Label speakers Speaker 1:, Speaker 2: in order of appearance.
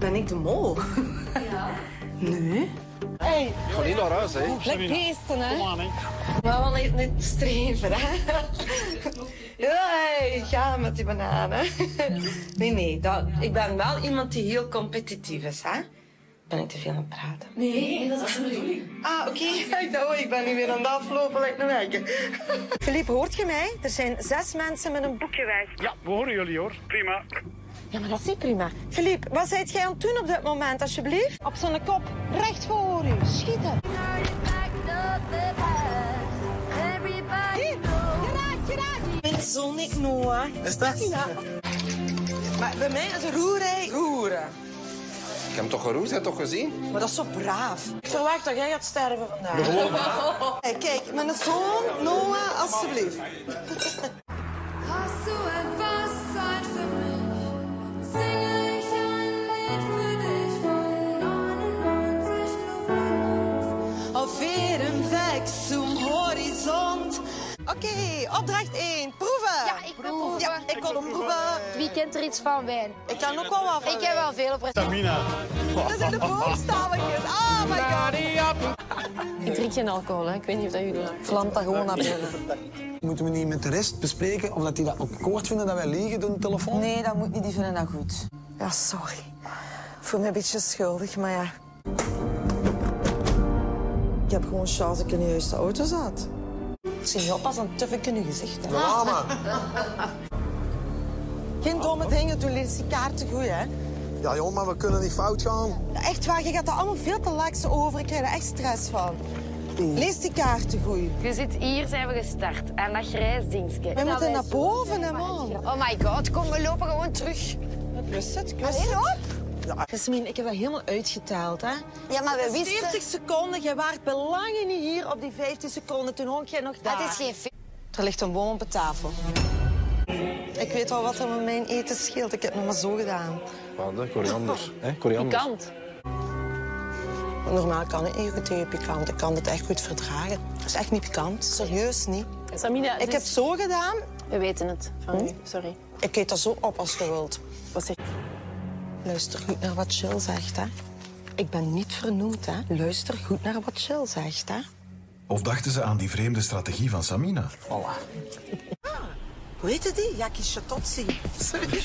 Speaker 1: Ben ik de mol? Nee.
Speaker 2: Gewoon niet naar huis, hè?
Speaker 1: Lekker beesten, hè?
Speaker 3: Kom aan, hè.
Speaker 1: Maar wel niet, niet streven, hè? Ja, ga met die bananen. Nee, nee, dat, ik ben wel iemand die heel competitief is, hè? Ben ik te veel aan het praten?
Speaker 4: Nee, dat is de bedoeling.
Speaker 1: Ah, oké. Ik dacht, oh, ik ben nu weer aan het aflopen, lijkt me werken. Filip, hoort je mij? Er zijn zes mensen met een boekje weg.
Speaker 3: Ja, we horen jullie hoor. Prima.
Speaker 1: Ja, maar dat is niet prima. Filip, wat zijt jij aan het doen op dit moment, alsjeblieft? Op zijn kop, recht voor u, schieten. Mijn zoon, ik Noah.
Speaker 2: Is dat?
Speaker 1: Ja. Maar bij mij is roerij roeren.
Speaker 2: Ik heb hem toch geroerd, heb je toch gezien?
Speaker 1: Maar dat is zo braaf. Ik verwacht dat jij gaat sterven vandaag. Hey, kijk, mijn zoon, Noah, alsjeblieft.
Speaker 4: Hast du etwas Zeit für mich? Singe ich ein Lied für dich von 99 Luftballons.
Speaker 1: Auf jedem Weg zum Horizont. Oké, opdracht 1. Proeven.
Speaker 5: Ja, ik ben proeven.
Speaker 1: Ja, ik kon proeven.
Speaker 5: Wie kent er iets van wijn?
Speaker 1: Ik kan ook wel wat van.
Speaker 5: Ik heb wel veel op
Speaker 3: Tamina.
Speaker 1: Dat zijn de boomstaveltjes. Oh my
Speaker 5: Nou,
Speaker 1: god.
Speaker 6: Ik drink geen alcohol, hè. ik weet niet of dat jullie doen. Vlamt dat gewoon naar binnen.
Speaker 7: Moeten we niet met de rest bespreken of dat die dat akkoord vinden dat wij liegen door de telefoon?
Speaker 6: Nee, dat moet niet, die vinden dat goed.
Speaker 1: Ja, sorry. Ik voel me een beetje schuldig, maar ja. Ik heb gewoon chance dat ik in de juiste auto zat. Ik zie jou pas een tuffe in je gezicht. Hè.
Speaker 7: Lama.
Speaker 1: Geen domme dingen doen, leer ze kaarten goed, hè.
Speaker 7: Ja joh, maar we kunnen niet fout gaan.
Speaker 1: Echt waar, je gaat er allemaal veel te lax over. Ik krijg er echt stress van. Lees die kaarten goed.
Speaker 5: Je zit hier, zijn we gestart. Aan dat grijs dingetje.
Speaker 1: We
Speaker 5: Dat
Speaker 1: moeten
Speaker 5: wij
Speaker 1: naar
Speaker 5: zo-
Speaker 1: boven, hè, man.
Speaker 5: Oh my god, kom, we lopen gewoon terug.
Speaker 1: Kus het, kus het. Jasmin, ik heb dat helemaal uitgetaald, hè.
Speaker 6: Ja, maar we
Speaker 1: Wist
Speaker 6: wisten...
Speaker 1: 40 seconden, je waart belangen niet hier op die 15 seconden. Toen honk jij nog daar.
Speaker 6: Het is geen fi-
Speaker 1: Er ligt een boom op de tafel. Ik weet al wat er met mijn eten scheelt. Ik heb het nog maar zo gedaan.
Speaker 2: Wat, hè? Koriander. Hè? Koriander.
Speaker 6: kant.
Speaker 1: Normaal kan ik niet goed tegen pikant. Ik kan het echt goed verdragen. Het is echt niet pikant. Serieus niet.
Speaker 6: Samina, dus-
Speaker 1: Ik heb zo gedaan.
Speaker 6: we weten het van u. Sorry.
Speaker 1: Ik eet dat zo op als je wilt.
Speaker 6: Wat zeg
Speaker 1: Luister goed naar wat Jill zegt, hè. Ik ben niet vernoemd, hè. Luister goed naar wat Jill zegt, hè.
Speaker 8: Of dachten ze aan die vreemde strategie van Samina?
Speaker 1: Hoe heette die? Jackie Chatotzi. Sorry.